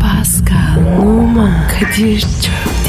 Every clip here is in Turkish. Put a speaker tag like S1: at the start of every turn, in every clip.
S1: Pascal, Oman, Kadir çok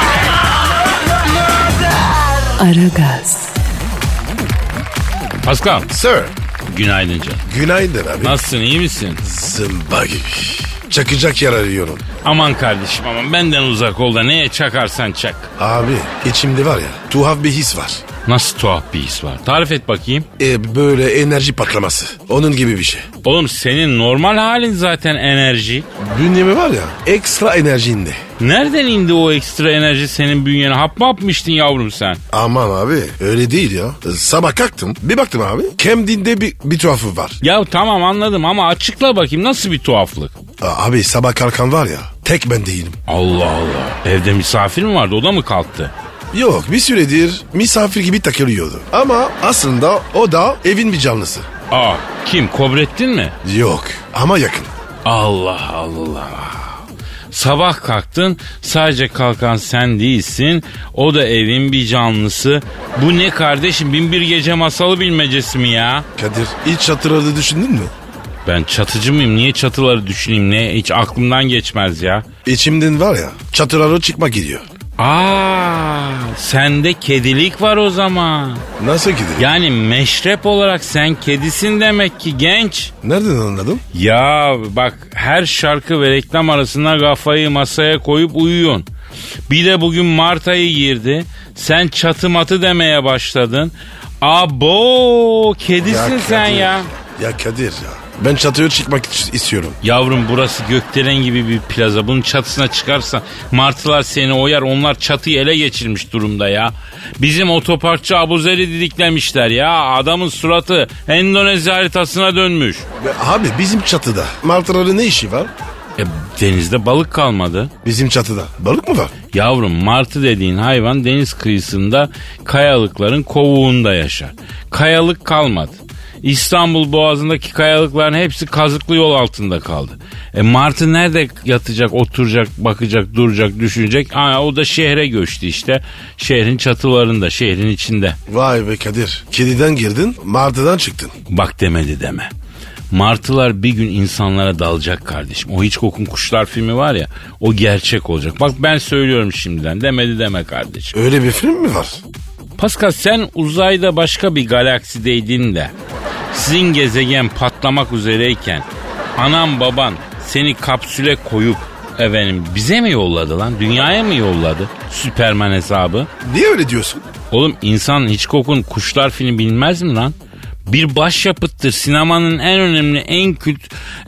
S1: Aragaz,
S2: Pascal.
S3: Sir.
S2: Günaydın canım.
S3: Günaydın abi.
S2: Nasılsın iyi misin?
S3: Zımba gibi. Çakacak yer arıyorum.
S2: Aman kardeşim aman benden uzak ol da neye çakarsan çak.
S3: Abi içimde var ya tuhaf bir his var.
S2: Nasıl tuhaf bir his var. Tarif et bakayım.
S3: E, böyle enerji patlaması. Onun gibi bir şey.
S2: Oğlum senin normal halin zaten enerji.
S3: Bünyemi var ya ekstra enerjinde.
S2: Nereden indi o ekstra enerji senin bünyene? Hap mı atmıştın yavrum sen?
S3: Aman abi öyle değil ya. Sabah kalktım bir baktım abi. Kendinde bir, bir tuhafı var.
S2: Ya tamam anladım ama açıkla bakayım nasıl bir tuhaflık?
S3: A- Abi sabah kalkan var ya tek ben değilim.
S2: Allah Allah. Evde misafir mi vardı o da mı kalktı?
S3: Yok bir süredir misafir gibi takılıyordu. Ama aslında o da evin bir canlısı.
S2: Aa kim kobrettin mi?
S3: Yok ama yakın.
S2: Allah Allah. Sabah kalktın sadece kalkan sen değilsin. O da evin bir canlısı. Bu ne kardeşim bin bir gece masalı bilmecesi mi ya?
S3: Kadir hiç hatırladı düşündün mü?
S2: Ben çatıcı mıyım niye çatıları düşüneyim ne hiç aklımdan geçmez ya.
S3: İçimden var ya çatılara çıkma gidiyor.
S2: Aa sende kedilik var o zaman.
S3: Nasıl gidiyor?
S2: Yani meşrep olarak sen kedisin demek ki genç.
S3: Nereden anladım?
S2: Ya bak her şarkı ve reklam arasında kafayı masaya koyup uyuyorsun. Bir de bugün Mart ayı girdi. Sen çatı matı demeye başladın. Abo kedisin sen
S3: Kadir,
S2: ya.
S3: Ya Kadir ya. Ben çatıya çıkmak iç- istiyorum.
S2: Yavrum burası gökdelen gibi bir plaza. Bunun çatısına çıkarsan martılar seni oyar. Onlar çatıyı ele geçirmiş durumda ya. Bizim otoparkçı Abuzer'i didiklemişler ya. Adamın suratı Endonezya haritasına dönmüş.
S3: Ve abi bizim çatıda. Martıların ne işi var?
S2: E, denizde balık kalmadı.
S3: Bizim çatıda. Balık mı var?
S2: Yavrum martı dediğin hayvan deniz kıyısında kayalıkların kovuğunda yaşar. Kayalık kalmadı. İstanbul boğazındaki kayalıkların hepsi kazıklı yol altında kaldı. E martı nerede yatacak, oturacak, bakacak, duracak, düşünecek? Aa, o da şehre göçtü işte. Şehrin çatılarında, şehrin içinde.
S3: Vay be Kadir. Kediden girdin, martıdan çıktın.
S2: Bak demedi deme. Martılar bir gün insanlara dalacak kardeşim. O hiç kokun kuşlar filmi var ya o gerçek olacak. Bak ben söylüyorum şimdiden demedi deme kardeşim.
S3: Öyle bir film mi var?
S2: Pascal sen uzayda başka bir galaksideydin de sizin gezegen patlamak üzereyken anan baban seni kapsüle koyup efendim bize mi yolladı lan? Dünyaya mı yolladı? Süperman hesabı.
S3: Niye öyle diyorsun?
S2: Oğlum insan Hitchcock'un Kuşlar filmi bilmez mi lan? Bir başyapıttır. Sinemanın en önemli, en kült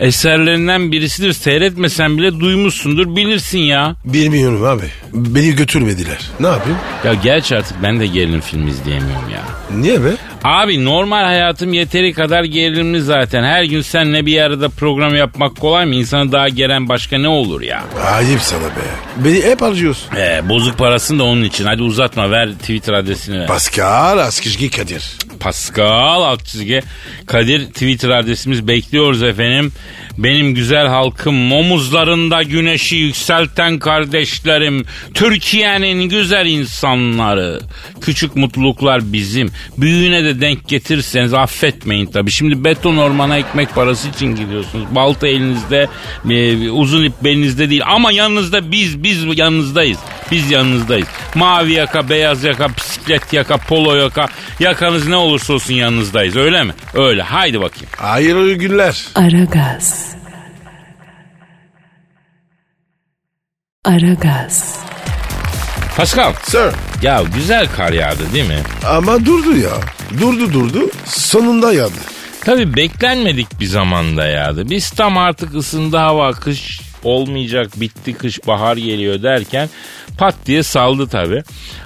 S2: eserlerinden birisidir. Seyretmesen bile duymuşsundur, bilirsin ya.
S3: Bilmiyorum abi. Beni götürmediler. Ne yapayım?
S2: Ya gerçi artık ben de gerilim filmi izleyemiyorum ya.
S3: Niye be?
S2: Abi normal hayatım yeteri kadar gerilimli zaten. Her gün seninle bir arada program yapmak kolay mı? İnsanı daha geren başka ne olur ya?
S3: Ayıp sana be. Beni hep harcıyorsun.
S2: Ee, bozuk parasını da onun için. Hadi uzatma ver Twitter adresini. ver.
S3: Pascal Askizgi Kadir.
S2: Pascal alt çizgi Kadir Twitter adresimiz bekliyoruz efendim. Benim güzel halkım omuzlarında güneşi yükselten kardeşlerim. Türkiye'nin güzel insanları. Küçük mutluluklar bizim. Büyüğüne de denk getirirseniz affetmeyin tabii. Şimdi beton ormana ekmek parası için gidiyorsunuz. Balta elinizde, e, uzun ip belinizde değil. Ama yanınızda biz, biz yanınızdayız. Biz yanınızdayız. Mavi yaka, beyaz yaka, bisiklet yaka, polo yaka. Yakanız ne olursa olsun yanınızdayız öyle mi? Öyle haydi bakayım.
S3: Hayırlı günler.
S1: Aragaz. Aragaz,
S2: Pascal
S3: Sir.
S2: ya güzel kar yağdı değil mi?
S3: Ama durdu ya. Durdu durdu. Sonunda yağdı.
S2: Tabii beklenmedik bir zamanda yağdı. Biz tam artık ısındı hava kış olmayacak bitti kış bahar geliyor derken pat diye saldı tabii.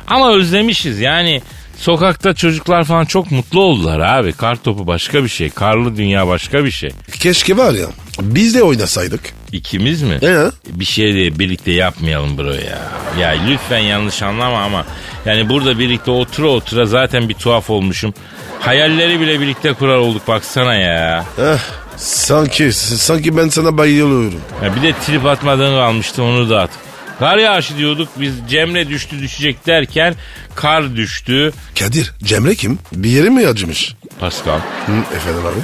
S2: Ama özlemişiz yani sokakta çocuklar falan çok mutlu oldular abi. Kar topu başka bir şey karlı dünya başka bir şey.
S3: Keşke var ya Biz de oynasaydık.
S2: İkimiz mi?
S3: Ee?
S2: Bir şey de birlikte yapmayalım bro ya. Ya lütfen yanlış anlama ama yani burada birlikte otura otura zaten bir tuhaf olmuşum. Hayalleri bile birlikte kurar olduk baksana ya.
S3: Eh, sanki sanki ben sana bayılıyorum.
S2: ya bir de trip atmadığını almıştı onu da at. Kar yağışı diyorduk biz Cemre düştü düşecek derken kar düştü.
S3: Kadir, Cemre kim? Bir yeri mi acımış?
S2: Pascal
S3: Hı, efendim abi.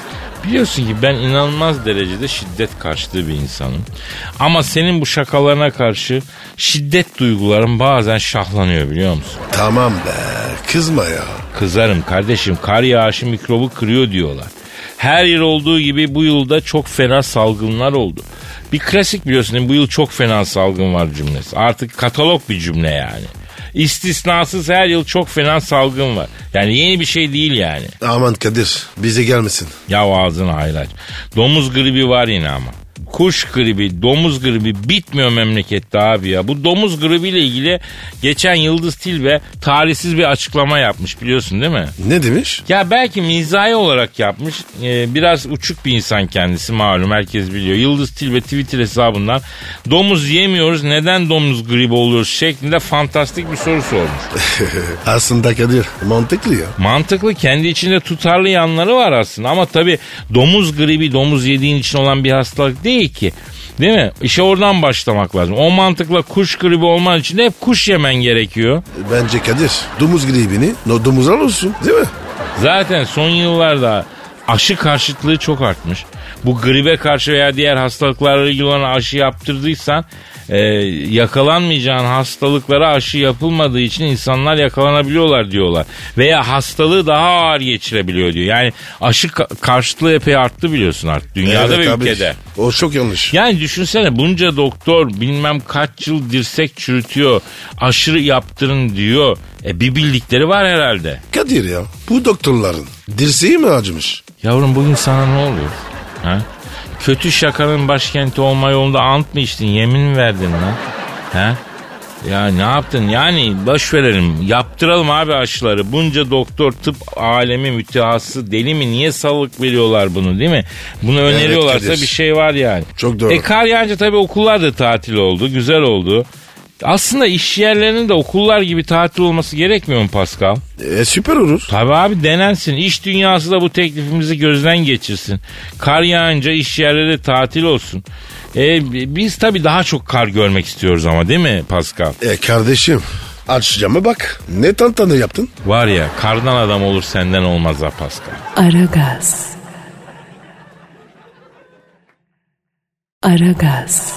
S2: Biliyorsun ki ben inanılmaz derecede şiddet karşıtı bir insanım. Ama senin bu şakalarına karşı şiddet duygularım bazen şahlanıyor biliyor musun?
S3: Tamam be, kızma ya.
S2: Kızarım kardeşim kar yağışı mikrobu kırıyor diyorlar. Her yıl olduğu gibi bu yılda çok fena salgınlar oldu. Bir klasik biliyorsun değil mi? bu yıl çok fena salgın var cümlesi. Artık katalog bir cümle yani. İstisnasız her yıl çok fena salgın var. Yani yeni bir şey değil yani.
S3: Aman Kadir, bize gelmesin.
S2: Ya ağzını hayraç. Domuz gribi var yine ama. Kuş gribi, domuz gribi bitmiyor memlekette abi ya. Bu domuz gribiyle ilgili geçen Yıldız Tilbe tarihsiz bir açıklama yapmış biliyorsun değil mi?
S3: Ne demiş?
S2: Ya belki mizahi olarak yapmış. Ee, biraz uçuk bir insan kendisi malum herkes biliyor. Yıldız Tilbe Twitter hesabından domuz yemiyoruz neden domuz gribi oluyoruz şeklinde fantastik bir soru sormuş.
S3: Aslında Kadir, mantıklı ya.
S2: Mantıklı kendi içinde tutarlı yanları var aslında ama tabii domuz gribi domuz yediğin için olan bir hastalık değil ki. Değil mi? İşe oradan başlamak lazım. O mantıkla kuş gribi olman için de hep kuş yemen gerekiyor.
S3: Bence Kadir, domuz gribini no, domuzlar olsun değil mi?
S2: Zaten son yıllarda aşı karşıtlığı çok artmış. Bu gribe karşı veya diğer hastalıklarla ilgili olan aşı yaptırdıysan e, yakalanmayacağın hastalıklara aşı yapılmadığı için insanlar yakalanabiliyorlar diyorlar. Veya hastalığı daha ağır geçirebiliyor diyor. Yani aşı ka- karşıtlığı epey arttı biliyorsun artık dünyada
S3: Evet
S2: ve
S3: abi,
S2: ülkede.
S3: O çok yanlış.
S2: Yani düşünsene bunca doktor bilmem kaç yıl dirsek çürütüyor, aşırı yaptırın diyor. E bir bildikleri var herhalde.
S3: Kadir ya, bu doktorların dirseği mi acımış?
S2: Yavrum bugün sana ne oluyor? Ha? Kötü şakanın başkenti olma yolunda ant mı içtin? Yemin mi verdin lan? Ha? Ya ne yaptın? Yani baş verelim. Yaptıralım abi aşıları. Bunca doktor tıp alemi mütehassısı deli mi? Niye sağlık veriyorlar bunu değil mi? Bunu öneriyorlarsa
S3: Kadir.
S2: bir şey var yani.
S3: Çok doğru.
S2: E kar yağınca tabii okullar da tatil oldu. Güzel oldu. Aslında iş yerlerinin de okullar gibi tatil olması gerekmiyor mu Pascal?
S3: E, süper olur.
S2: Tabii abi denensin. İş dünyası da bu teklifimizi gözden geçirsin. Kar yağınca iş yerleri tatil olsun. E, b- biz tabii daha çok kar görmek istiyoruz ama değil mi Pascal?
S3: E kardeşim, aç camı bak. Ne tantana yaptın?
S2: Var ya kardan adam olur senden olmaz ha Pascal.
S1: Aragaz. Aragaz.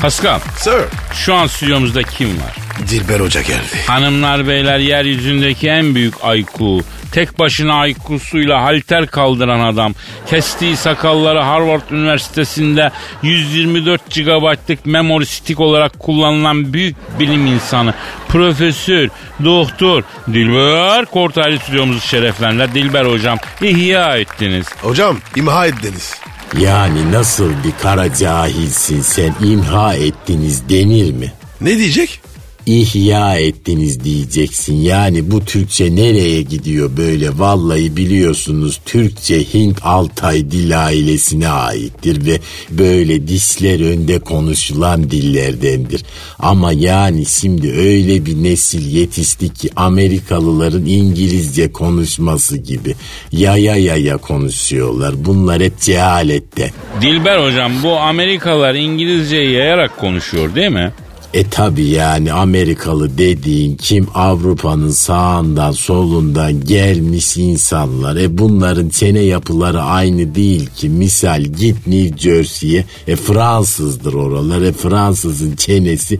S2: Pascal
S3: Sir.
S2: şu an stüdyomuzda kim var?
S3: Dilber Hoca geldi.
S2: Hanımlar beyler yeryüzündeki en büyük ayku. Tek başına aykusuyla halter kaldıran adam. Kestiği sakalları Harvard Üniversitesi'nde 124 GB'lık memory stick olarak kullanılan büyük bilim insanı. Profesör, doktor Dilber Kortaylı stüdyomuzu şereflendiler. Dilber hocam ihya ettiniz.
S3: Hocam imha ettiniz.
S4: Yani nasıl bir kara cahilsin sen imha ettiniz denir mi?
S3: Ne diyecek?
S4: İhya ettiniz diyeceksin. Yani bu Türkçe nereye gidiyor böyle? Vallahi biliyorsunuz Türkçe Hint Altay dil ailesine aittir ve böyle dişler önde konuşulan dillerdendir. Ama yani şimdi öyle bir nesil yetişti ki Amerikalıların İngilizce konuşması gibi yaya yaya konuşuyorlar. Bunlar hep cehalette.
S2: Dilber hocam bu Amerikalılar İngilizceyi yayarak konuşuyor değil mi?
S4: E tabi yani Amerikalı dediğin kim Avrupa'nın sağından solundan gelmiş insanlar. E bunların çene yapıları aynı değil ki. Misal git New Jersey'ye e Fransızdır oralar. E Fransızın çenesi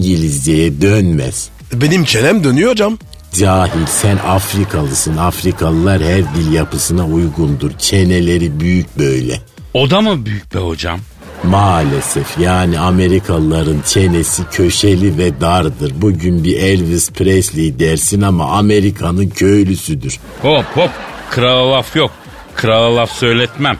S4: İngilizceye dönmez.
S3: Benim çenem dönüyor hocam.
S4: Cahil sen Afrikalısın. Afrikalılar her dil yapısına uygundur. Çeneleri büyük böyle.
S2: O da mı büyük be hocam?
S4: Maalesef yani Amerikalıların çenesi köşeli ve dardır. Bugün bir Elvis Presley dersin ama Amerika'nın köylüsüdür.
S2: Hop hop krala laf yok. Krala laf söyletmem.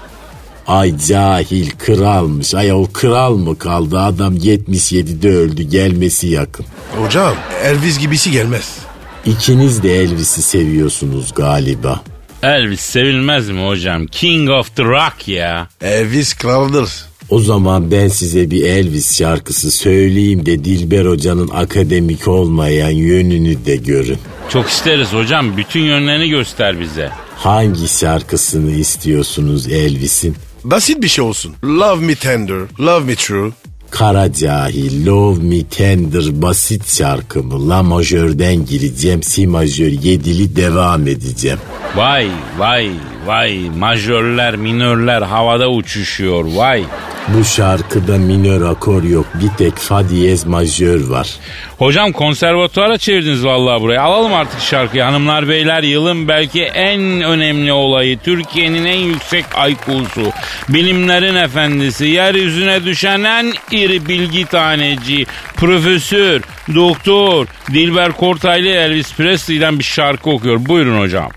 S4: Ay cahil kralmış. Ay o kral mı kaldı? Adam 77'de öldü gelmesi yakın.
S3: Hocam Elvis gibisi gelmez.
S4: İkiniz de Elvis'i seviyorsunuz galiba.
S2: Elvis sevilmez mi hocam? King of the Rock ya.
S3: Elvis kraldır.
S4: O zaman ben size bir Elvis şarkısı söyleyeyim de Dilber Hoca'nın akademik olmayan yönünü de görün.
S2: Çok isteriz hocam. Bütün yönlerini göster bize.
S4: Hangi şarkısını istiyorsunuz Elvis'in?
S3: Basit bir şey olsun. Love me tender, love me true.
S4: Kara cahil, love me tender basit şarkımı la majörden gireceğim si majör yedili devam edeceğim.
S2: Vay vay vay majörler minörler havada uçuşuyor vay.
S4: Bu şarkıda minör akor yok bir tek fa diyez majör var.
S2: Hocam konservatuara çevirdiniz vallahi burayı. Alalım artık şarkıyı hanımlar beyler yılın belki en önemli olayı. Türkiye'nin en yüksek IQ'su. Bilimlerin efendisi. Yeryüzüne düşen en iri bilgi taneci. Profesör, doktor, Dilber Kortaylı Elvis Presley'den bir şarkı okuyor. Buyurun hocam.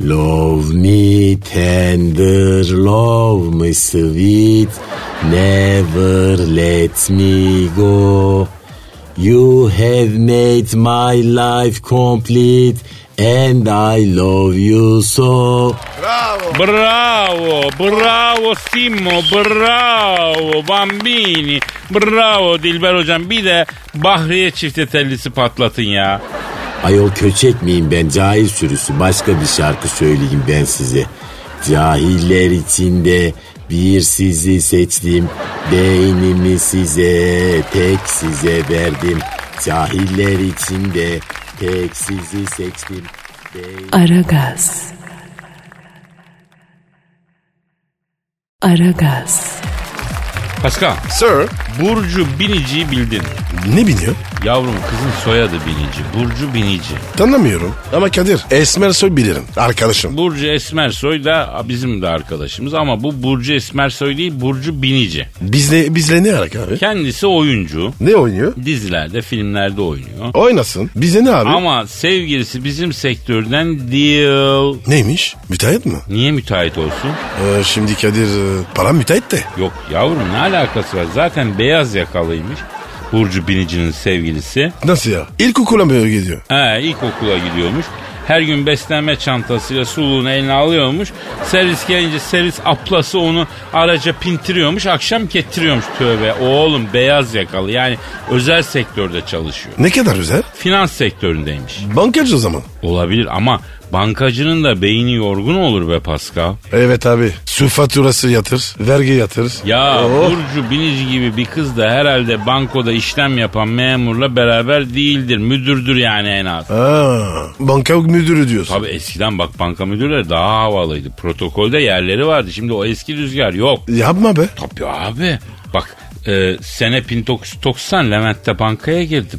S4: Love me tender, love me sweet, never let me go. You have made my life complete and I love you so.
S2: Bravo, bravo Simmo, bravo Bambini, bravo Dilber hocam. Bir de Bahriye çifte tellisi patlatın ya.
S4: Ayol köçek miyim ben cahil sürüsü başka bir şarkı söyleyeyim ben size. Cahiller içinde bir sizi seçtim. Beynimi size tek size verdim. Cahiller içinde tek sizi seçtim. Beynimi-
S1: Aragaz. Aragaz.
S2: Pascal,
S3: Sir,
S2: Burcu Binici'yi bildin.
S3: ne biniyor?
S2: Yavrum kızın soyadı Binici, Burcu Binici.
S3: Tanımıyorum. Ama Kadir, Esmer soy bilirim. Arkadaşım.
S2: Burcu Esmersoy da bizim de arkadaşımız ama bu Burcu Esmersoy değil, Burcu Binici.
S3: Bizle, bizle ne alaka abi?
S2: Kendisi oyuncu,
S3: Ne oynuyor?
S2: dizilerde, filmlerde oynuyor.
S3: Oynasın. Bize ne abi?
S2: Ama sevgilisi bizim sektörden değil.
S3: Neymiş? Müteahhit mi?
S2: Niye müteahhit olsun?
S3: Ee, şimdi Kadir, e, para müteahhit de.
S2: Yok yavrum ne alakası var? Zaten beyaz yakalıymış. Burcu Binici'nin sevgilisi.
S3: Nasıl ya? İlkokula mı gidiyor?
S2: He ilkokula gidiyormuş. Her gün beslenme çantasıyla suluğunu eline alıyormuş. Servis gelince servis aplası onu araca pintiriyormuş. Akşam getiriyormuş tövbe. Oğlum beyaz yakalı yani özel sektörde çalışıyor.
S3: Ne kadar özel?
S2: Finans sektöründeymiş.
S3: Bankacı o zaman.
S2: Olabilir ama bankacının da beyni yorgun olur be Pascal.
S3: Evet abi. Su faturası yatır, vergi yatır.
S2: Ya
S3: Oh.
S2: Burcu Binici gibi bir kız da herhalde bankoda işlem yapan memurla beraber değildir. Müdürdür yani en az.
S3: Ha, banka müdürü diyorsun.
S2: Tabi eskiden bak banka müdürleri daha havalıydı. Protokolde yerleri vardı. Şimdi o eski rüzgar yok.
S3: Yapma be.
S2: Tabii abi. Bak e, sene 1990 Levent'te bankaya girdim.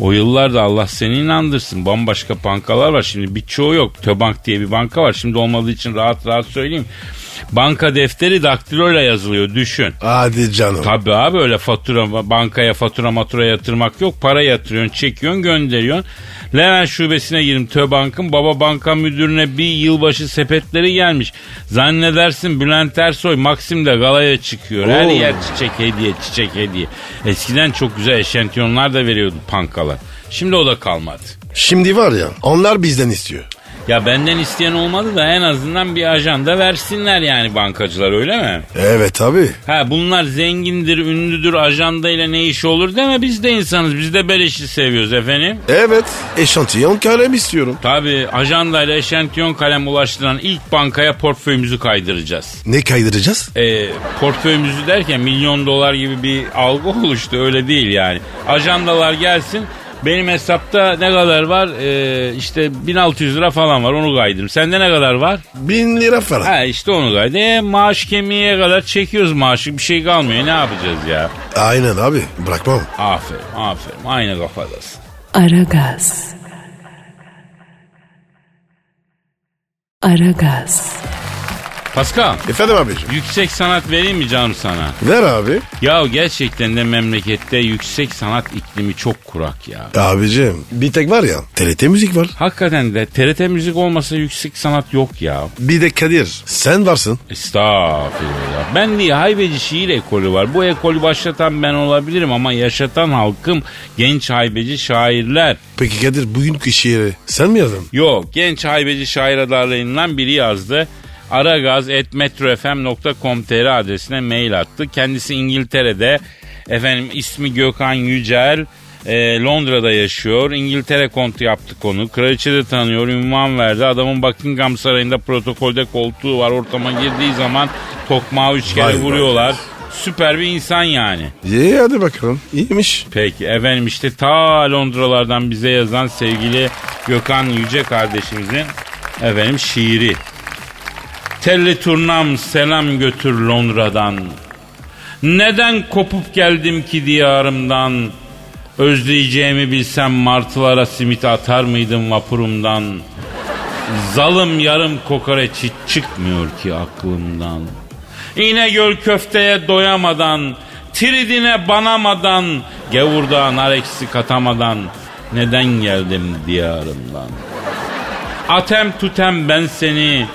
S2: O yıllarda Allah seni inandırsın. Bambaşka bankalar var. Şimdi birçoğu yok. Töbank diye bir banka var. Şimdi olmadığı için rahat rahat söyleyeyim. Banka defteri daktiloyla yazılıyor düşün.
S3: Hadi canım.
S2: Tabii abi öyle fatura bankaya fatura matura yatırmak yok. Para yatırıyorsun, çekiyorsun, gönderiyorsun. Levent şubesine girdim Töbank'ın. Baba banka müdürüne bir yılbaşı sepetleri gelmiş. Zannedersin Bülent Ersoy Maksim'de galaya çıkıyor. Her
S3: Oo.
S2: yer çiçek hediye, çiçek hediye. Eskiden çok güzel eşantiyonlar da veriyordu pankalar. Şimdi o da kalmadı.
S3: Şimdi var ya onlar bizden istiyor.
S2: Ya benden isteyen olmadı da en azından bir ajanda versinler yani bankacılar öyle mi?
S3: Evet abi.
S2: Ha bunlar zengindir, ünlüdür, ajandayla ne işi olur deme biz de insanız. Biz de beleşi seviyoruz efendim.
S3: Evet. Eşantiyon kalem istiyorum.
S2: Tabi ajandayla eşantiyon kalem ulaştıran ilk bankaya portföyümüzü kaydıracağız.
S3: Ne kaydıracağız?
S2: Ee, portföyümüzü derken milyon dolar gibi bir algı oluştu öyle değil yani. Ajandalar gelsin benim hesapta ne kadar var? Ee, işte 1600 lira falan var onu kaydırdım. Sende ne kadar var?
S3: Bin lira falan.
S2: Ha işte onu kaydı. E, maaş kemiğe kadar çekiyoruz maaşı bir şey kalmıyor ne yapacağız ya?
S3: Aynen abi. Bırakmam.
S2: Aferin aferin aynı kafadasın.
S1: Aragaz. Aragaz.
S2: Pascal
S3: Efendim abicim.
S2: yüksek sanat vereyim mi canım sana?
S3: Ver abi.
S2: Ya gerçekten de memlekette yüksek sanat iklimi çok kurak ya.
S3: Abicim bir tek var ya TRT müzik var.
S2: Hakikaten de TRT müzik olmasa yüksek sanat yok ya.
S3: Bir de Kadir sen varsın.
S2: Estağfirullah. Ben diye haybeci şiir ekolü var. Bu ekolü başlatan ben olabilirim ama yaşatan halkım genç haybeci şairler.
S3: Peki Kadir bugünkü şiiri sen mi yazdın?
S2: Yok genç haybeci şair adaylarından biri yazdı. aragaz.metrofm.com.tr adresine mail attı. Kendisi İngiltere'de efendim ismi Gökhan Yücel. e, Londra'da yaşıyor. İngiltere kontu yaptı konu. Kraliçe de tanıyor. Ünvan verdi. Adamın Buckingham Sarayı'nda protokolde koltuğu var. Ortama girdiği zaman tokmağı üç kere
S3: Vay be.
S2: vuruyorlar. Süper bir insan yani.
S3: Ye hadi bakalım. İyiymiş.
S2: Peki efendim işte ta Londralardan bize yazan sevgili Gökhan Yüce kardeşimizin efendim şiiri. Telli turnam selam götür Londra'dan. Neden kopup geldim ki diyarımdan? Özleyeceğimi bilsem martılara simit atar mıydım vapurumdan? Zalım yarım kokoreç hiç çıkmıyor ki aklımdan. İnegöl köfteye doyamadan, tridine banamadan, gevurdağa nar eksi katamadan, neden geldim diyarımdan? Atem tutem ben seni,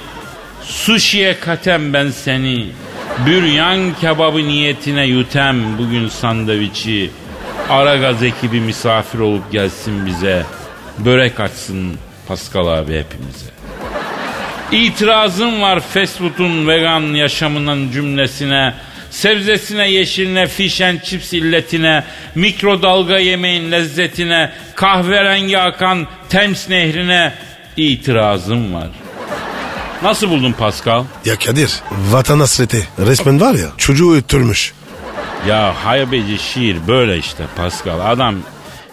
S2: sushi'ye katem ben seni, büryan kebabı niyetine yutem bugün sandviçi, Aragaz ekibi misafir olup gelsin bize, börek açsın Pascal abi hepimize. İtirazım var fast food'un vegan yaşamının cümlesine. Sebzesine, yeşiline, fişen, chips illetine, mikrodalga yemeğin lezzetine, kahverengi akan Thames nehrine itirazım var. Nasıl buldun Pascal?
S3: Ya Kadir vatan hasreti resmen var ya çocuğu öttürmüş.
S2: Ya haybeci şiir böyle işte Pascal. Adam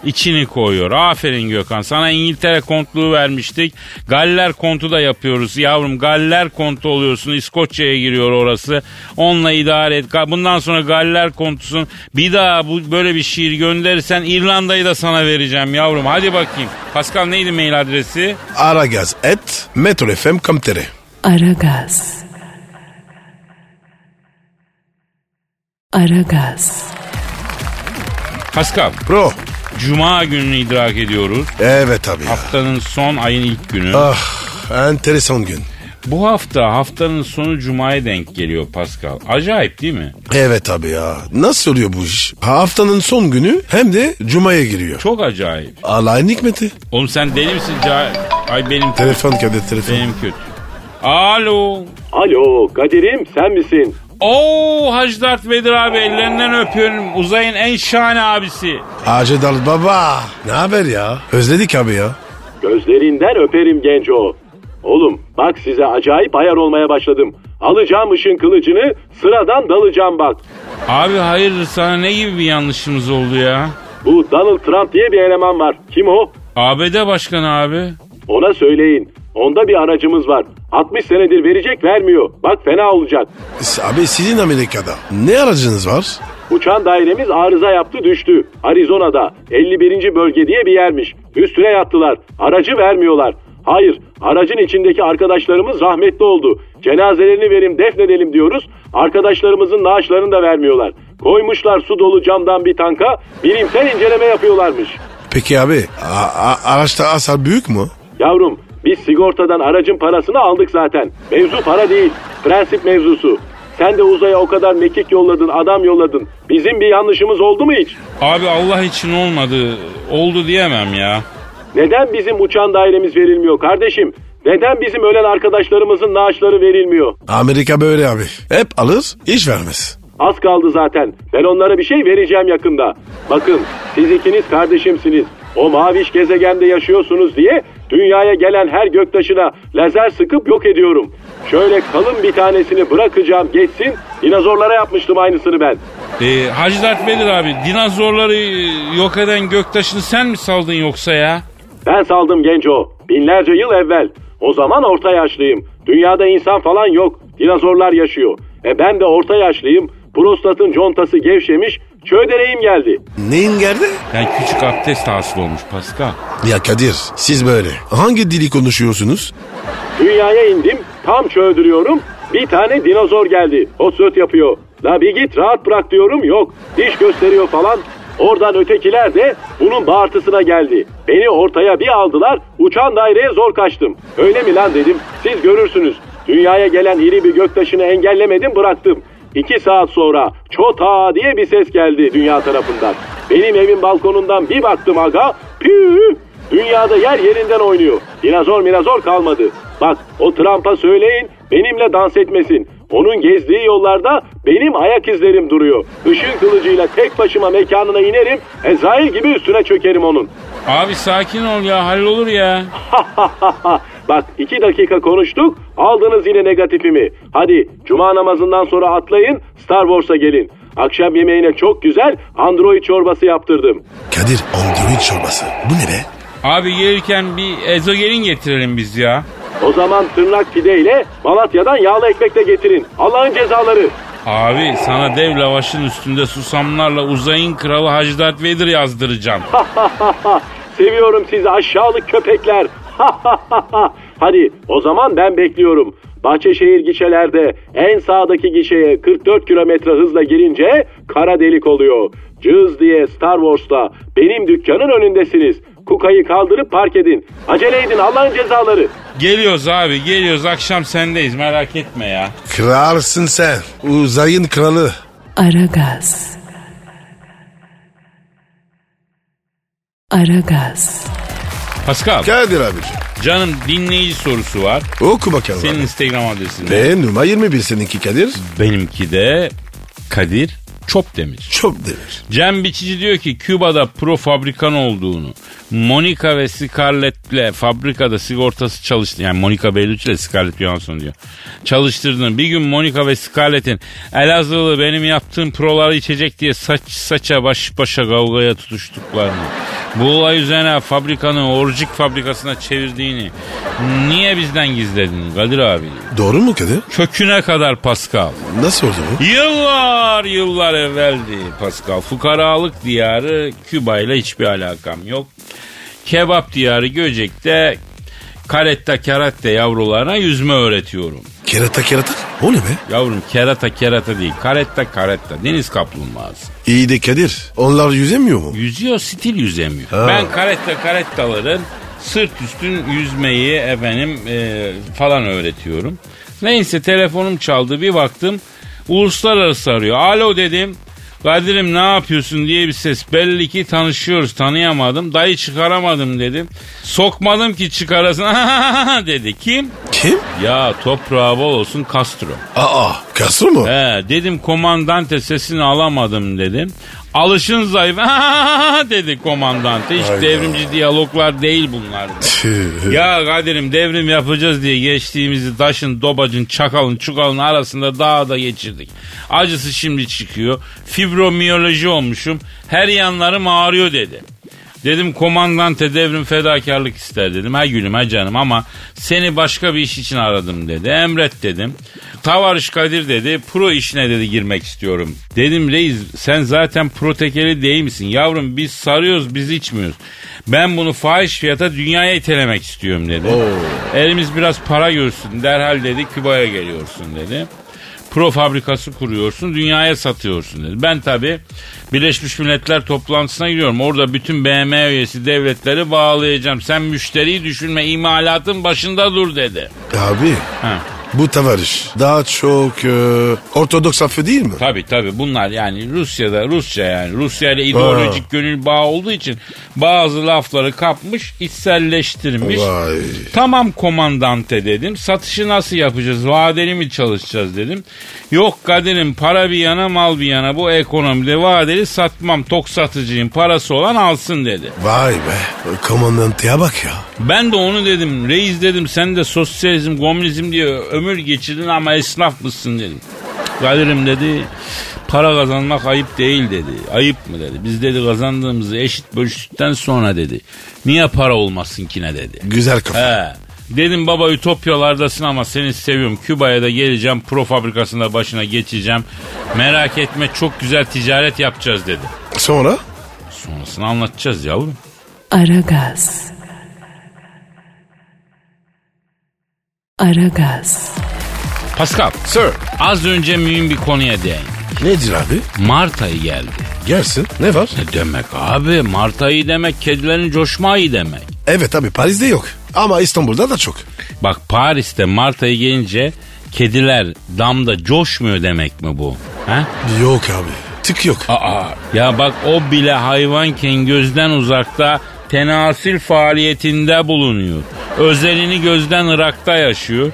S2: içini koyuyor. Aferin Gökhan. Sana İngiltere kontluğu vermiştik. Galler kontu da yapıyoruz. Yavrum Galler kontu oluyorsun. İskoçya'ya giriyor orası. Onunla idare et. Ga- Bundan sonra Galler kontusun. Bir daha bu böyle bir şiir gönderirsen İrlanda'yı da sana vereceğim yavrum. Hadi bakayım. Pascal neydi mail adresi?
S3: Aragaz et metrofm.com.tr
S1: Aragaz. Aragaz.
S2: Pascal.
S3: Bro
S2: Cuma gününü idrak ediyoruz.
S3: evet abi ya.
S2: Haftanın son ayın ilk günü.
S3: Ah enteresan gün.
S2: Bu hafta haftanın sonu Cuma'ya denk geliyor Pascal. Acayip değil mi?
S3: Evet abi ya nasıl oluyor bu iş? Haftanın son günü hem de cumaya giriyor.
S2: Çok acayip.
S3: Allah'ın hikmeti.
S2: Oğlum sen deli misin? Ca- Ay benim
S3: Telefon Kadir telefon.
S2: benim kötü. Alo.
S5: Alo Kadir'im sen misin?
S2: Oo Hacı Dert Vedir abi ellerinden öpüyorum. Uzayın en şahane abisi.
S3: Hacı Dal Baba. Ne haber ya? Özledik abi ya.
S5: Gözlerinden öperim genç o. Oğlum bak size acayip ayar olmaya başladım. Alacağım ışın kılıcını sıradan dalacağım bak.
S2: Abi hayırdır sana ne gibi bir yanlışımız oldu ya?
S5: Bu Donald Trump diye bir eleman var. Kim o?
S2: ABD başkanı abi.
S5: Ona söyleyin. Onda bir aracımız var. 60 senedir verecek vermiyor. Bak fena olacak.
S3: S- Abi sizin Amerika'da ne aracınız var?
S5: Uçan dairemiz arıza yaptı düştü. Arizona'da 51. bölge diye bir yermiş. Üstüne yattılar. Aracı vermiyorlar. Hayır, aracın içindeki arkadaşlarımız rahmetli oldu. Cenazelerini verim defnedelim diyoruz. Arkadaşlarımızın naaşlarını da vermiyorlar. Koymuşlar su dolu camdan bir tanka, bilimsel inceleme yapıyorlarmış.
S3: Peki abi a- a- araçta hasar büyük mü?
S5: Yavrum, biz sigortadan aracın parasını aldık zaten. Mevzu para değil, prensip mevzusu. Sen de uzaya o kadar mekik yolladın, adam yolladın. Bizim bir yanlışımız oldu mu hiç?
S2: Abi Allah için olmadı. Oldu diyemem ya.
S5: Neden bizim uçan dairemiz verilmiyor kardeşim? Neden bizim ölen arkadaşlarımızın naaşları verilmiyor?
S3: Amerika böyle abi. Hep alır iş vermez.
S5: Az kaldı zaten. Ben onlara bir şey vereceğim yakında. Bakın siz ikiniz kardeşimsiniz. O maviş gezegende yaşıyorsunuz diye dünyaya gelen her göktaşına lazer sıkıp yok ediyorum. Şöyle kalın bir tanesini bırakacağım geçsin. Dinozorlara yapmıştım aynısını ben.
S2: Ee, Hacı Dert Vedir abi dinozorları e, yok eden göktaşını sen mi saldın yoksa ya?
S5: Ben saldım genco. Binlerce yıl evvel. O zaman orta yaşlıyım. Dünyada insan falan yok. Dinozorlar yaşıyor. E ben de orta yaşlıyım. Prostatın contası gevşemiş. Çödereyim geldi.
S3: Neyin geldi?
S2: Yani küçük abdest hasıl olmuş Pascal.
S3: Ya Kadir siz böyle hangi dili konuşuyorsunuz?
S5: Dünyaya indim. Tam çöldürüyorum. Bir tane dinozor geldi. Hotsöt yapıyor. La bir git rahat bırak diyorum yok. Diş gösteriyor falan. Oradan ötekiler de bunun bağırtısına geldi. Beni ortaya bir aldılar. Uçan daireye zor kaçtım. Öyle mi lan dedim. Siz görürsünüz. Dünyaya gelen iri bir göktaşını engellemedim bıraktım. İki saat sonra çota diye bir ses geldi dünya tarafından. Benim evin balkonundan bir baktım aga. Püü Dünyada yer yerinden oynuyor. Dinozor minazor kalmadı. Bak o Trump'a söyleyin benimle dans etmesin. Onun gezdiği yollarda benim ayak izlerim duruyor. Işın kılıcıyla tek başıma mekanına inerim. Ezrail gibi üstüne çökerim onun.
S2: Abi sakin ol ya hallolur ya.
S5: Bak iki dakika konuştuk aldınız yine negatifimi. Hadi cuma namazından sonra atlayın Star Wars'a gelin. Akşam yemeğine çok güzel android çorbası yaptırdım.
S3: Kadir android çorbası. Bu ne be?
S2: Abi gelirken bir ezogelin getirelim biz ya.
S5: O zaman tırnak pideyle Malatya'dan yağlı ekmek de getirin. Allah'ın cezaları.
S2: Abi sana dev lavaşın üstünde susamlarla uzayın kralı Hacı Dert Vedir yazdıracağım.
S5: Seviyorum sizi aşağılık köpekler. Hadi o zaman ben bekliyorum. Bahçeşehir gişelerde en sağdaki gişeye 44 kilometre hızla girince kara delik oluyor. Cız diye Star Wars'ta benim dükkanın önündesiniz. Kukayı kaldırıp park edin. Acele edin Allah'ın cezaları.
S2: geliyoruz abi geliyoruz akşam sendeyiz merak etme ya.
S3: Kralsın sen. Uzayın kralı.
S1: Aragaz. Aragaz.
S2: Pascal
S3: Kadir abicim.
S2: canım dinleyici sorusu var.
S3: Oku bakalım.
S2: Senin
S3: Senin...
S2: Instagram adresin. ne?
S3: Ve numara 21 seninki Kadir.
S2: Benimki de Kadir Çopdemir.
S3: Çok demir.
S2: Cem Biçici diyor ki Küba'da pro fabrikan olduğunu, Monica ve Scarlett'le fabrikada sigortası çalıştı. Yani Monica Bellucci ile Scarlett Johansson diyor. Çalıştırdığını. Bir gün Monica ve Scarlett'in Elazığlı benim yaptığım proları içecek diye saç saça baş başa kavgaya tutuştuklarını. Bu olay üzerine fabrikanın orucik fabrikasına çevirdiğini. Niye bizden gizledin Kadir abi?
S3: Doğru mu Kadir?
S2: Köküne kadar Pascal.
S3: Nasıl oldu bu?
S2: Yıllar yıllar evveldi Pascal. Fukaralık diyarı Küba ile hiçbir alakam yok. Kebap diyarı Göcek'te karetta keratte yavrularına yüzme öğretiyorum.
S3: Kerata kerata. O ne be?
S2: Yavrum kerata kerata değil karetta karetta deniz kaplumbağası.
S3: İyi de Kadir. Onlar yüzemiyor mu?
S2: Yüzüyor stil yüzemiyor.
S3: Ha.
S2: Ben karetta karettaların sırt üstün yüzmeyi efendim e, falan öğretiyorum. Neyse telefonum çaldı bir baktım uluslararası arıyor. Alo dedim. Kadir'im ne yapıyorsun diye bir ses. Belli ki tanışıyoruz tanıyamadım. Dayı çıkaramadım dedim. Sokmadım ki çıkarasın dedi. Kim?
S3: Kim?
S2: Ya toprağı bol olsun Castro.
S3: Aa. Kasır mu?
S2: He, dedim komandante sesini alamadım dedim. Alışın zayıf dedi komandante. Hiç
S3: Hayda.
S2: devrimci diyaloglar değil bunlar.
S3: Tüh.
S2: ya Kadir'im devrim yapacağız diye geçtiğimizi taşın, dobacın, çakalın, çukalın arasında dağda geçirdik. Acısı şimdi çıkıyor. Fibromiyoloji olmuşum. Her yanlarım ağrıyor dedi. Dedim komandante devrim fedakarlık ister dedim. Ha gülüm ha canım ama seni başka bir iş için aradım dedi. Emret dedim. Tavarış Kadir dedi. Pro işine dedi girmek istiyorum. Dedim reis sen zaten pro tekeli değil misin? Yavrum biz sarıyoruz biz içmiyoruz. Ben bunu fahiş fiyata dünyaya itelemek istiyorum dedi. Elimiz biraz para görsün derhal dedi Küba'ya geliyorsun dedi pro fabrikası kuruyorsun, dünyaya satıyorsun dedi. Ben tabii Birleşmiş Milletler toplantısına gidiyorum. Orada bütün BM üyesi devletleri bağlayacağım. Sen müşteriyi düşünme, imalatın başında dur dedi.
S3: E Abi.
S2: Ha.
S3: Bu tavarış. Daha çok e, ortodoks affı değil mi?
S2: Tabii tabii bunlar yani Rusya'da Rusça yani Rusya ile ideolojik gönül bağı olduğu için bazı lafları kapmış, içselleştirmiş.
S3: Vay.
S2: Tamam komandante dedim. Satışı nasıl yapacağız? Vadeli mi çalışacağız dedim. Yok kaderim para bir yana mal bir yana bu ekonomide vadeli satmam. Tok satıcıyım parası olan alsın dedi.
S3: Vay be. Komandantaya bak ya.
S2: Ben de onu dedim. Reis dedim sen de sosyalizm komünizm diye ömür geçirdin ama esnaf mısın dedim. Kadir'im dedi para kazanmak ayıp değil dedi. Ayıp mı dedi. Biz dedi kazandığımızı eşit bölüştükten sonra dedi. Niye para olmasın kine dedi.
S3: Güzel kafa.
S2: He. Dedim baba Ütopyalardasın ama seni seviyorum. Küba'ya da geleceğim. Pro fabrikasında başına geçeceğim. Merak etme çok güzel ticaret yapacağız dedi.
S3: Sonra?
S2: Sonrasını anlatacağız yavrum.
S1: Aragaz. Aragaz.
S2: Pascal
S3: Sir.
S2: az önce mühim bir konuya değin.
S3: Nedir abi?
S2: Mart ayı geldi.
S3: Gelsin. Ne var?
S2: Ne demek abi? Mart ayı demek kedilerin coşma ayı demek.
S3: Evet abi Paris'te yok. Ama İstanbul'da da çok.
S2: Bak Paris'te Mart ayı gelince kediler damda coşmuyor demek mi bu? He?
S3: Yok abi. Tık yok.
S2: Aa, ya bak o bile hayvanken gözden uzakta tenasil faaliyetinde bulunuyor. Özelini gözden ırakta yaşıyor.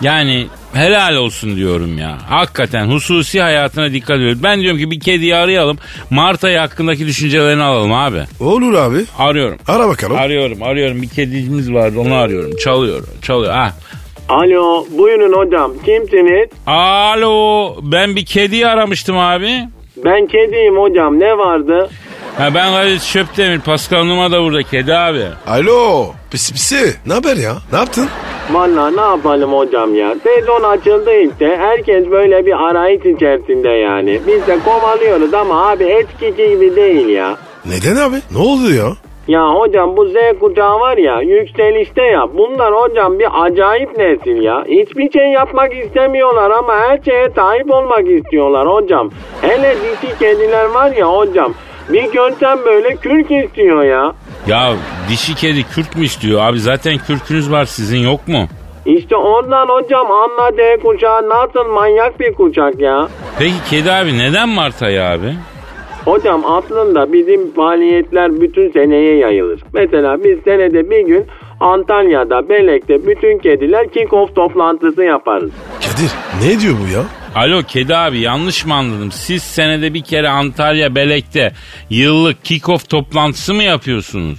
S2: Yani helal olsun diyorum ya. Hakikaten hususi hayatına dikkat ediyor. Ben diyorum ki bir kediyi arayalım. Mart ayı hakkındaki düşüncelerini alalım abi.
S3: Olur abi.
S2: Arıyorum.
S3: Ara bakalım.
S2: Arıyorum arıyorum. Bir kedicimiz vardı onu arıyorum. Çalıyor çalıyor. Ah.
S5: Alo buyurun hocam kimsiniz?
S2: Alo ben bir kediyi aramıştım abi.
S5: Ben kediyim hocam ne vardı?
S2: Ha ben Kadir Şöpdemir. Pascal Numa da burada kedi abi.
S3: Alo. Pisi pisi. Ne haber ya? Ne yaptın?
S5: Valla ne yapalım hocam ya. Sezon açıldı işte. Herkes böyle bir arayış içerisinde yani. Biz de kovalıyoruz ama abi eskisi gibi değil ya.
S3: Neden abi? Ne oldu ya?
S5: Ya hocam bu Z kuşağı var ya yükselişte ya. Bunlar hocam bir acayip nesil ya. Hiçbir şey yapmak istemiyorlar ama her şeye sahip olmak istiyorlar hocam. Hele dişi kediler var ya hocam. Bir görsen böyle kürk istiyor ya.
S2: Ya dişi kedi Kürt mü istiyor? Abi zaten kürkünüz var sizin yok mu?
S5: İşte ondan hocam anla Z kuşağı nasıl manyak bir kuşak ya.
S2: Peki kedi abi neden Mart ayı abi?
S5: Hocam aslında bizim faaliyetler bütün seneye yayılır. Mesela biz senede bir gün Antalya'da, Belek'te bütün kediler kick-off toplantısı yaparız.
S3: Kadir ne diyor bu ya?
S2: Alo kedi abi yanlış mı anladım? Siz senede bir kere Antalya Belek'te yıllık kick-off toplantısı mı yapıyorsunuz?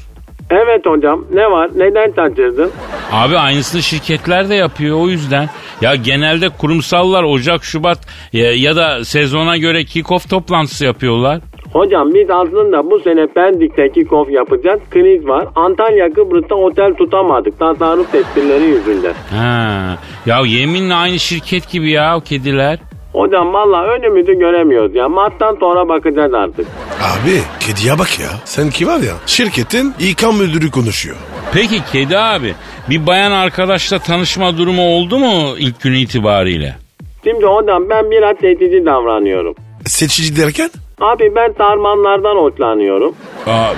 S5: Evet hocam ne var neden şaşırdın?
S2: Abi aynısını şirketler de yapıyor o yüzden. Ya genelde kurumsallar Ocak, Şubat ya, ya da sezona göre kick-off toplantısı yapıyorlar.
S5: Hocam biz aslında bu sene Pendik'te kick-off yapacağız. Kriz var. Antalya Kıbrıs'ta otel tutamadık. Tasarruf tedbirleri yüzünden.
S2: Ha. Ya yeminle aynı şirket gibi ya o kediler.
S5: Hocam valla önümüzü göremiyoruz ya. Mattan sonra bakacağız artık.
S3: Abi kediye bak ya. Senki var ya şirketin İK müdürü konuşuyor.
S2: Peki kedi abi bir bayan arkadaşla tanışma durumu oldu mu ilk günü itibariyle?
S5: Şimdi hocam ben biraz seçici davranıyorum.
S3: Seçici derken?
S5: Abi ben sarmanlardan hoşlanıyorum.
S2: Aa,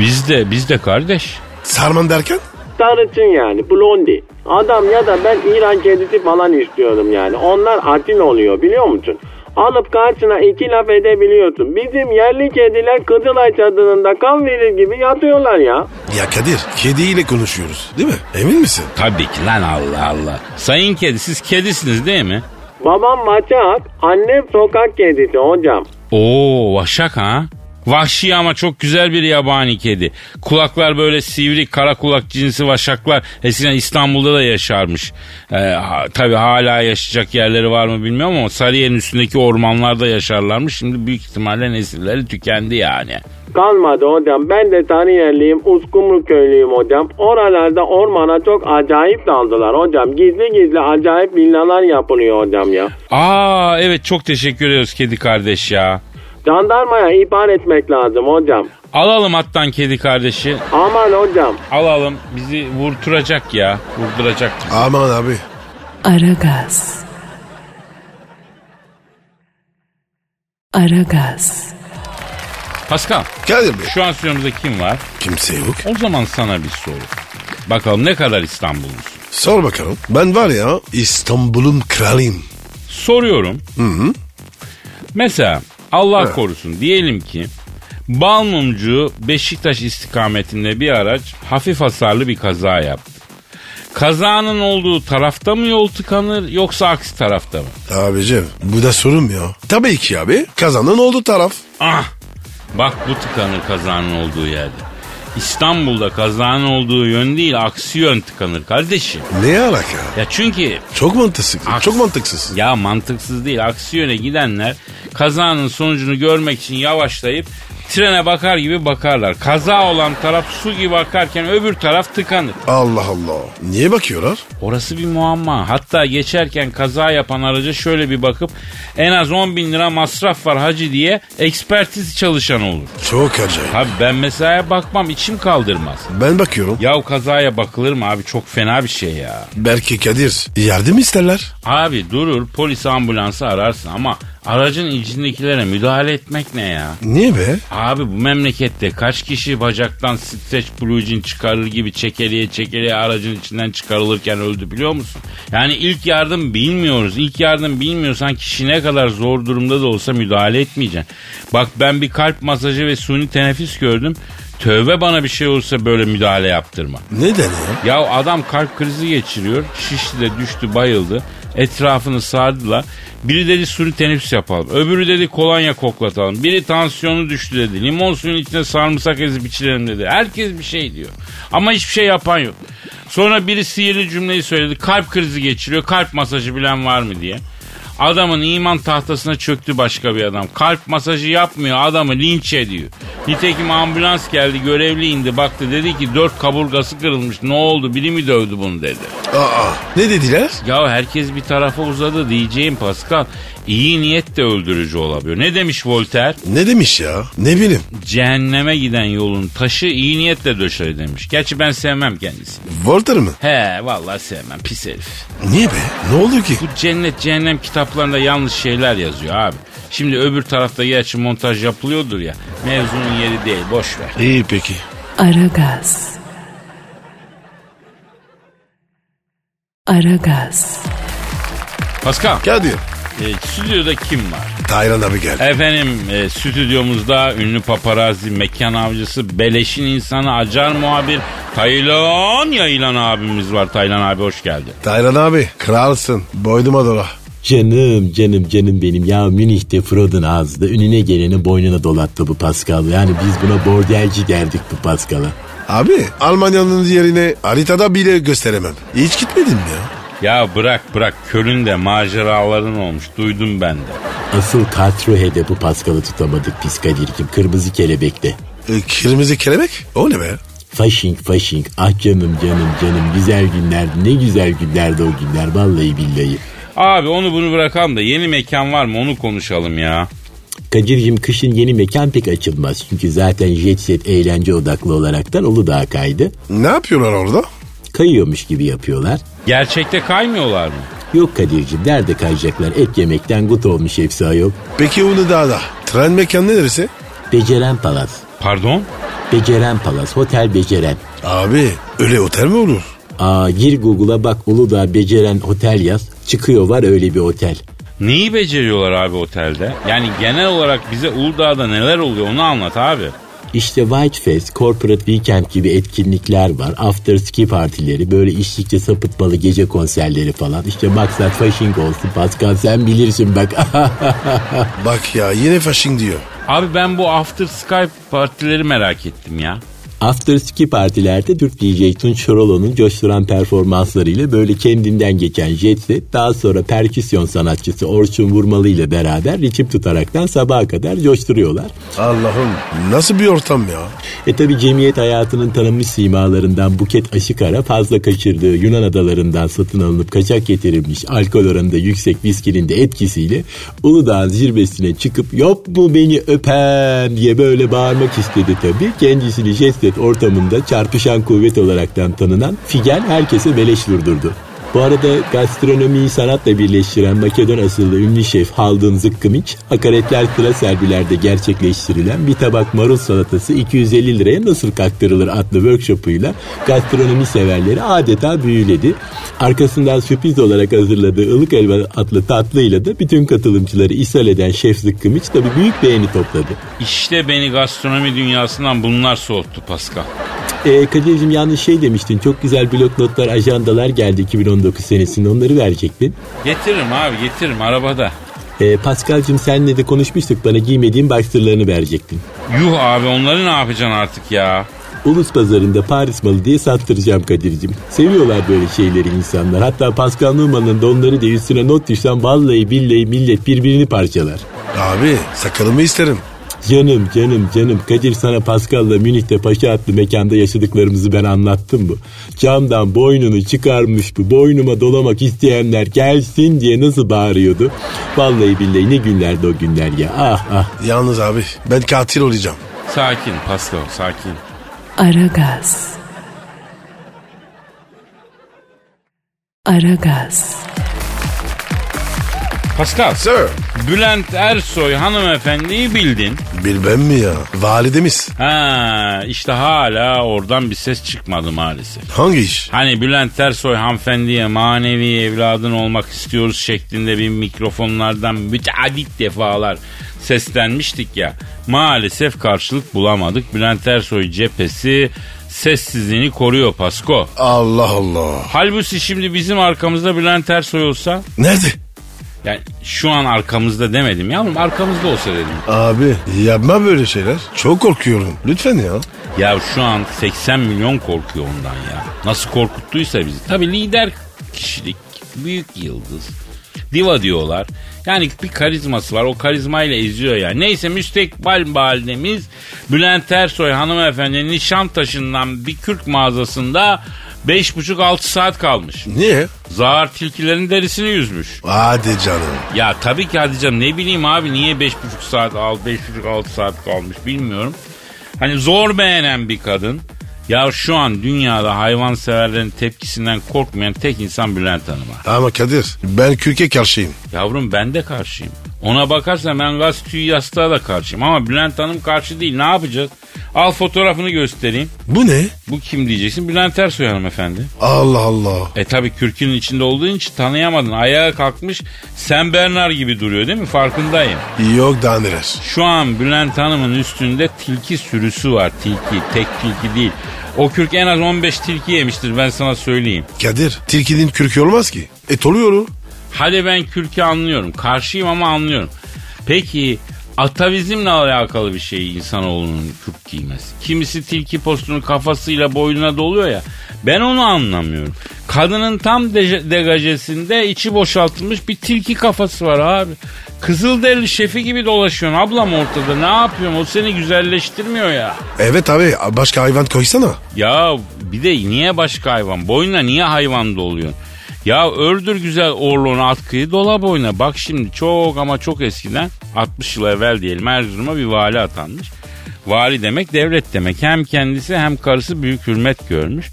S2: biz de biz de kardeş.
S3: Sarman derken?
S5: Sarıçın yani blondi. Adam ya da ben İran kedisi falan istiyorum yani. Onlar atil oluyor biliyor musun? Alıp karşına iki laf edebiliyorsun. Bizim yerli kediler Kızılay çadırında kan verir gibi yatıyorlar ya.
S3: Ya Kadir kediyle konuşuyoruz değil mi? Emin misin?
S2: Tabii ki lan Allah Allah. Sayın kedi siz kedisiniz değil mi?
S5: Babam maçak, annem sokak kedisi hocam.
S2: Oo vaşak ha. Vahşi ama çok güzel bir yabani kedi. Kulaklar böyle sivri kara kulak cinsi vaşaklar. Eskiden İstanbul'da da yaşarmış. Ee, ha, tabii hala yaşayacak yerleri var mı bilmiyorum ama Sarıyer'in üstündeki ormanlarda yaşarlarmış. Şimdi büyük ihtimalle nesilleri tükendi yani.
S5: Kalmadı hocam. Ben de Sarıyerliyim, Uskumru köylüyüm hocam. Oralarda ormana çok acayip daldılar hocam. Gizli gizli acayip villalar yapılıyor hocam ya.
S2: Aa evet çok teşekkür ediyoruz kedi kardeş ya.
S5: Jandarmaya ihbar etmek lazım hocam.
S2: Alalım hattan kedi kardeşi.
S5: Aman hocam.
S2: Alalım bizi vurturacak ya. Vurduracak.
S3: Aman abi.
S1: Aragaz. Aragaz.
S2: Pascal
S3: Kadir Bey.
S2: şu an stüdyomuzda kim var?
S3: Kimse yok.
S2: O zaman sana bir soru. Bakalım ne kadar İstanbullusun?
S3: Sor bakalım. Ben var ya İstanbul'un kralıyım.
S2: Soruyorum. Mesela Allah korusun diyelim ki Balmumcu Beşiktaş istikametinde bir araç hafif hasarlı bir kaza yaptı. Kazanın olduğu tarafta mı yol tıkanır yoksa aksi tarafta mı?
S3: Abicim bu da sorun ya. Tabii ki abi kazanan oldu taraf.
S2: Ah! Bak bu tıkanır kazanın olduğu yerde. İstanbul'da kazanın olduğu yön değil aksi yön tıkanır kardeşim.
S3: Ne alaka?
S2: Ya çünkü
S3: Çok mantıksız.
S2: Aks-
S3: Çok mantıksız.
S2: Ya mantıksız değil. Aksi yöne gidenler kazanın sonucunu görmek için yavaşlayıp Trene bakar gibi bakarlar. Kaza olan taraf su gibi akarken öbür taraf tıkanır.
S3: Allah Allah. Niye bakıyorlar?
S2: Orası bir muamma. Hatta geçerken kaza yapan araca şöyle bir bakıp en az 10 bin lira masraf var hacı diye ekspertiz çalışan olur.
S3: Çok acayip.
S2: Abi ben mesaiye bakmam içim kaldırmaz.
S3: Ben bakıyorum.
S2: Yahu kazaya bakılır mı abi çok fena bir şey ya.
S3: Belki Kadir yardım isterler.
S2: Abi durur polis ambulansı ararsın ama aracın içindekilere müdahale etmek ne ya?
S3: Niye be?
S2: Abi bu memlekette kaç kişi bacaktan streç blue jean çıkarır gibi çekeriye çekeriye aracın içinden çıkarılırken öldü biliyor musun? Yani ilk yardım bilmiyoruz. İlk yardım bilmiyorsan kişi ne kadar zor durumda da olsa müdahale etmeyeceksin. Bak ben bir kalp masajı ve suni teneffüs gördüm. Tövbe bana bir şey olsa böyle müdahale yaptırma.
S3: Neden ya?
S2: Ya adam kalp krizi geçiriyor. Şişti de düştü bayıldı. Etrafını sardılar. Biri dedi suni teneffüs yapalım. Öbürü dedi kolonya koklatalım. Biri tansiyonu düştü dedi. Limon suyun içine sarımsak ezip içirelim dedi. Herkes bir şey diyor. Ama hiçbir şey yapan yok. Sonra biri sihirli cümleyi söyledi. Kalp krizi geçiriyor. Kalp masajı bilen var mı diye. Adamın iman tahtasına çöktü başka bir adam. Kalp masajı yapmıyor adamı linç ediyor. Nitekim ambulans geldi görevli indi baktı dedi ki dört kaburgası kırılmış ne oldu biri mi dövdü bunu dedi.
S3: Aa, ne dediler?
S2: Ya herkes bir tarafa uzadı diyeceğim Pascal. İyi niyet de öldürücü olabiliyor. Ne demiş Voltaire?
S3: Ne demiş ya? Ne bileyim.
S2: Cehenneme giden yolun taşı iyi niyetle döşer demiş. Gerçi ben sevmem kendisini.
S3: Voltaire mı?
S2: He vallahi sevmem pis herif.
S3: Niye be? Ne oldu ki?
S2: Bu cennet cehennem kitaplarında yanlış şeyler yazıyor abi. Şimdi öbür tarafta gerçi montaj yapılıyordur ya. Mevzunun yeri değil boş ver.
S3: İyi peki.
S1: Aragaz. Aragaz.
S2: Pascal,
S3: Kadir.
S2: e, stüdyoda kim var?
S3: Taylan abi geldi.
S2: Efendim e, stüdyomuzda ünlü paparazzi, mekan avcısı, beleşin insanı, acar muhabir Taylan Yaylan abimiz var. Taylan abi hoş geldin.
S3: Taylan E- abi kralsın. Boynuma dola.
S4: Canım canım canım benim ya Münih'te Frod'un ağzında önüne geleni boynuna dolattı bu Pascal. Yani biz buna bordelci derdik bu Pascal'a.
S3: Abi Almanya'nın yerine haritada bile gösteremem. Hiç gitmedim ya.
S2: Ya bırak bırak köründe maceraların olmuş duydum ben de.
S4: Asıl Katruhe'de bu Pascal'ı tutamadık pis Kadir'cim kırmızı kelebekte.
S3: E, kırmızı kelebek? O ne be?
S4: Faşink faşink ah canım canım canım güzel günlerdi ne güzel günlerdi o günler vallahi billahi.
S2: Abi onu bunu bırakalım da yeni mekan var mı onu konuşalım ya.
S4: Kadir'cim kışın yeni mekan pek açılmaz çünkü zaten jet set eğlence odaklı olaraktan Uludağ kaydı.
S3: Ne yapıyorlar orada?
S4: Kayıyormuş gibi yapıyorlar.
S2: Gerçekte kaymıyorlar mı?
S4: Yok Kadir'cim nerede kayacaklar et yemekten gut olmuş efsa yok.
S3: Peki onu daha da. Tren mekanı neresi?
S4: Beceren Palas.
S2: Pardon?
S4: Beceren Palas. Hotel Beceren.
S3: Abi öyle otel mi olur?
S4: Aa, gir Google'a bak Uludağ Beceren Otel yaz. Çıkıyor var öyle bir otel.
S2: Neyi beceriyorlar abi otelde? Yani genel olarak bize Uludağ'da neler oluyor onu anlat abi.
S4: İşte White Fest, Corporate Weekend gibi etkinlikler var. After ski partileri, böyle içtikçe sapıtmalı gece konserleri falan. İşte maksat fashing olsun Pascal sen bilirsin bak.
S3: Bak ya yine faşing diyor.
S2: Abi ben bu after Skype partileri merak ettim ya.
S4: After ski partilerde Türk DJ Tunç Şorolo'nun coşturan performanslarıyla böyle kendinden geçen jet set daha sonra perküsyon sanatçısı Orçun Vurmalı ile beraber ritim tutaraktan sabaha kadar coşturuyorlar.
S3: Allah'ım nasıl bir ortam ya?
S4: E tabi cemiyet hayatının tanınmış simalarından Buket Aşıkara fazla kaçırdığı Yunan adalarından satın alınıp kaçak getirilmiş alkol oranında yüksek viskinin de etkisiyle Uludağ'ın zirvesine çıkıp yok mu beni öpen diye böyle bağırmak istedi tabi. Kendisini jestet ortamında çarpışan kuvvet olaraktan tanınan Figen herkese beleş vurdurdu. Bu arada gastronomiyi sanatla birleştiren Makedon asıllı ünlü şef Haldun Zıkkımiç, hakaretler sıra serbilerde gerçekleştirilen bir tabak marul salatası 250 liraya nasıl kaktırılır adlı workshopuyla gastronomi severleri adeta büyüledi. Arkasından sürpriz olarak hazırladığı ılık elma adlı tatlıyla da bütün katılımcıları ishal eden şef Zıkkımiç tabii büyük beğeni topladı.
S2: İşte beni gastronomi dünyasından bunlar soğuttu Pascal.
S4: Ee, Kadir'cim yanlış şey demiştin. Çok güzel blok notlar, ajandalar geldi 2019 senesinde. Onları verecektin.
S2: Getiririm abi getiririm arabada.
S4: E, Pascal'cim senle de konuşmuştuk bana giymediğim boxerlarını verecektin.
S2: Yuh abi onları ne yapacaksın artık ya?
S4: Ulus pazarında Paris malı diye sattıracağım Kadir'cim. Seviyorlar böyle şeyleri insanlar. Hatta Pascal Numan'ın donları diye üstüne not düşsen vallahi billahi millet birbirini parçalar.
S3: Abi sakalımı isterim.
S4: Canım canım canım Kadir sana Pascal'la Münih'te Paşa adlı mekanda yaşadıklarımızı ben anlattım mı? Camdan boynunu çıkarmış bu boynuma dolamak isteyenler gelsin diye nasıl bağırıyordu? Vallahi billahi ne günlerdi o günler ya ah ah.
S3: Yalnız abi ben katil olacağım.
S2: Sakin Pascal sakin.
S1: Aragaz. Aragaz.
S2: Pascal.
S3: Sir.
S2: Bülent Ersoy hanımefendiyi bildin.
S3: Bilmem mi ya? Validemiz.
S2: Ha işte hala oradan bir ses çıkmadı maalesef.
S3: Hangi iş?
S2: Hani Bülent Ersoy hanımefendiye manevi evladın olmak istiyoruz şeklinde bir mikrofonlardan müteadit defalar seslenmiştik ya. Maalesef karşılık bulamadık. Bülent Ersoy cephesi sessizliğini koruyor Pasko.
S3: Allah Allah.
S2: Halbuki şimdi bizim arkamızda Bülent Ersoy olsa
S3: Nerede?
S2: yani şu an arkamızda demedim yavrum arkamızda olsa dedim.
S3: Abi yapma böyle şeyler. Çok korkuyorum. Lütfen ya.
S2: Ya şu an 80 milyon korkuyor ondan ya. Nasıl korkuttuysa bizi. Tabii lider kişilik, büyük yıldız. Diva diyorlar. Yani bir karizması var. O karizmayla eziyor ya. Neyse müstekbal validemiz Bülent Ersoy hanımefendinin Nişantaşı'ndan bir Kürt mağazasında 5,5-6 saat kalmış.
S3: Niye?
S2: Zahar tilkilerin derisini yüzmüş.
S3: Hadi canım.
S2: Ya tabii ki Hatice'm ne bileyim abi niye beş buçuk saat al beş buçuk altı saat kalmış bilmiyorum. Hani zor beğenen bir kadın. Ya şu an dünyada hayvanseverlerin tepkisinden korkmayan tek insan Bülent Hanım'a.
S3: Ama Kadir ben kürke karşıyım.
S2: Yavrum ben de karşıyım. Ona bakarsan ben gaz tüyü yastığa da karşıyım. Ama Bülent Hanım karşı değil ne yapacağız? Al fotoğrafını göstereyim.
S3: Bu ne?
S2: Bu kim diyeceksin? Bülent Ersoy hanımefendi.
S3: Allah Allah.
S2: E tabi kürkünün içinde olduğun için tanıyamadın. Ayağa kalkmış Sen Bernard gibi duruyor değil mi? Farkındayım.
S3: Yok daha neler.
S2: Şu an Bülent Hanım'ın üstünde tilki sürüsü var. Tilki, tek tilki değil. O kürk en az 15 tilki yemiştir ben sana söyleyeyim.
S3: Kadir tilkinin kürkü olmaz ki. Et oluyor o.
S2: Hadi ben kürkü anlıyorum. Karşıyım ama anlıyorum. Peki atavizmle alakalı bir şey insanoğlunun kürk giymesi. Kimisi tilki postunu kafasıyla boynuna doluyor ya. Ben onu anlamıyorum. Kadının tam deje- degajesinde içi boşaltılmış bir tilki kafası var abi. Kızılderili şefi gibi dolaşıyorsun ablam ortada ne yapıyorsun o seni güzelleştirmiyor ya.
S3: Evet abi başka hayvan koysana.
S2: Ya bir de niye başka hayvan? Boyuna niye hayvan doluyorsun? Ya ördür güzel orluğunu atkıyı dola boyuna. Bak şimdi çok ama çok eskiden 60 yıl evvel diyelim Erzurum'a bir vali atanmış. Vali demek devlet demek. Hem kendisi hem karısı büyük hürmet görmüş.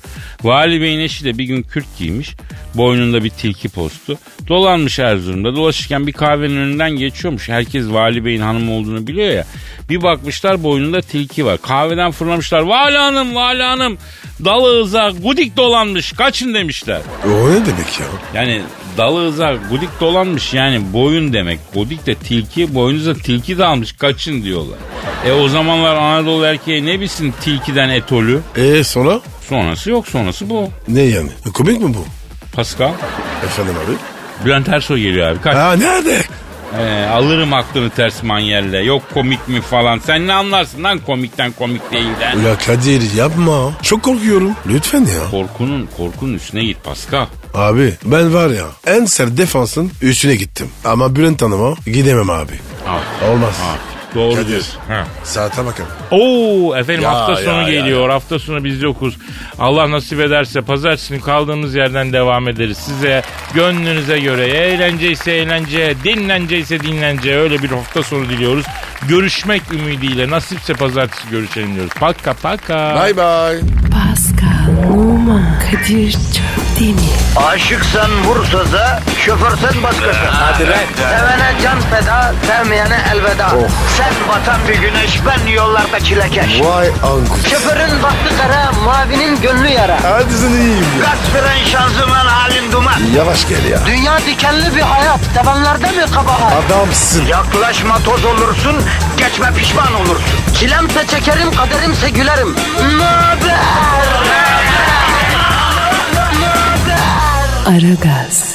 S2: Vali Bey'in eşi de bir gün kürt giymiş. Boynunda bir tilki postu. Dolanmış Erzurum'da. Dolaşırken bir kahvenin önünden geçiyormuş. Herkes Vali Bey'in hanımı olduğunu biliyor ya. Bir bakmışlar boynunda tilki var. Kahveden fırlamışlar. Vali Hanım, Vali Hanım. Dalığıza gudik dolanmış. Kaçın demişler.
S3: O ne demek ya?
S2: Yani dalığıza gudik dolanmış yani boyun demek. Gudik de tilki, boynunuza tilki dalmış kaçın diyorlar. E o zamanlar Anadolu erkeği ne bilsin tilkiden etolü?
S3: E sonra?
S2: Sonrası yok sonrası bu.
S3: Ne yani? Komik mi bu?
S2: Pascal.
S3: Efendim abi?
S2: Bülent Ersoy geliyor abi. Kaç.
S3: Ha nerede?
S6: Ee,
S2: E, alırım aklını ters manyelle. Yok komik mi falan. Sen ne anlarsın lan komikten komik değilden.
S3: Ya Kadir yapma. Çok korkuyorum. Lütfen ya.
S2: Korkunun korkunun üstüne git Pascal.
S3: Abi ben var ya en sert defansın üstüne gittim. Ama Bülent Hanım'a gidemem abi.
S2: Ah,
S3: Olmaz.
S2: ah, Doğru
S3: Kadir.
S2: diyorsun. Ha.
S3: Saate bakalım.
S6: Oo efendim
S3: Ya,
S6: hafta sonu
S3: ya, ya,
S6: geliyor. Hafta sonu biz yokuz. Allah nasip ederse pazartesi günü kaldığımız yerden devam ederiz. Size gönlünüze göre eğlence ise eğlence, dinlence ise dinlence öyle bir hafta sonu diliyoruz. Görüşmek ümidiyle nasipse pazartesi görüşelim diyoruz. Paka paka.
S3: Bye bye.
S1: Pascal, Oman, Kadir çok değil mi?
S7: Aşıksan vursa da, şoförsen başkasın. Hadi Sevene can feda, sevmeyene elveda. Sen batan bir güneş, ben yollarda çilekeş.
S3: Vay anku.
S7: Şoförün baktı kara, mavinin gönlü yara.
S3: Hadi sen iyiyim ya.
S7: Kasperen şanzıman halin duman.
S3: Yavaş gel ya.
S7: Dünya dikenli bir hayat, sevenlerde mi kabahar?
S3: Adamsın.
S7: Yaklaşma toz olursun, geçme pişman olursun. Çilemse çekerim, kaderimse gülerim. Möber!
S1: Aragaz.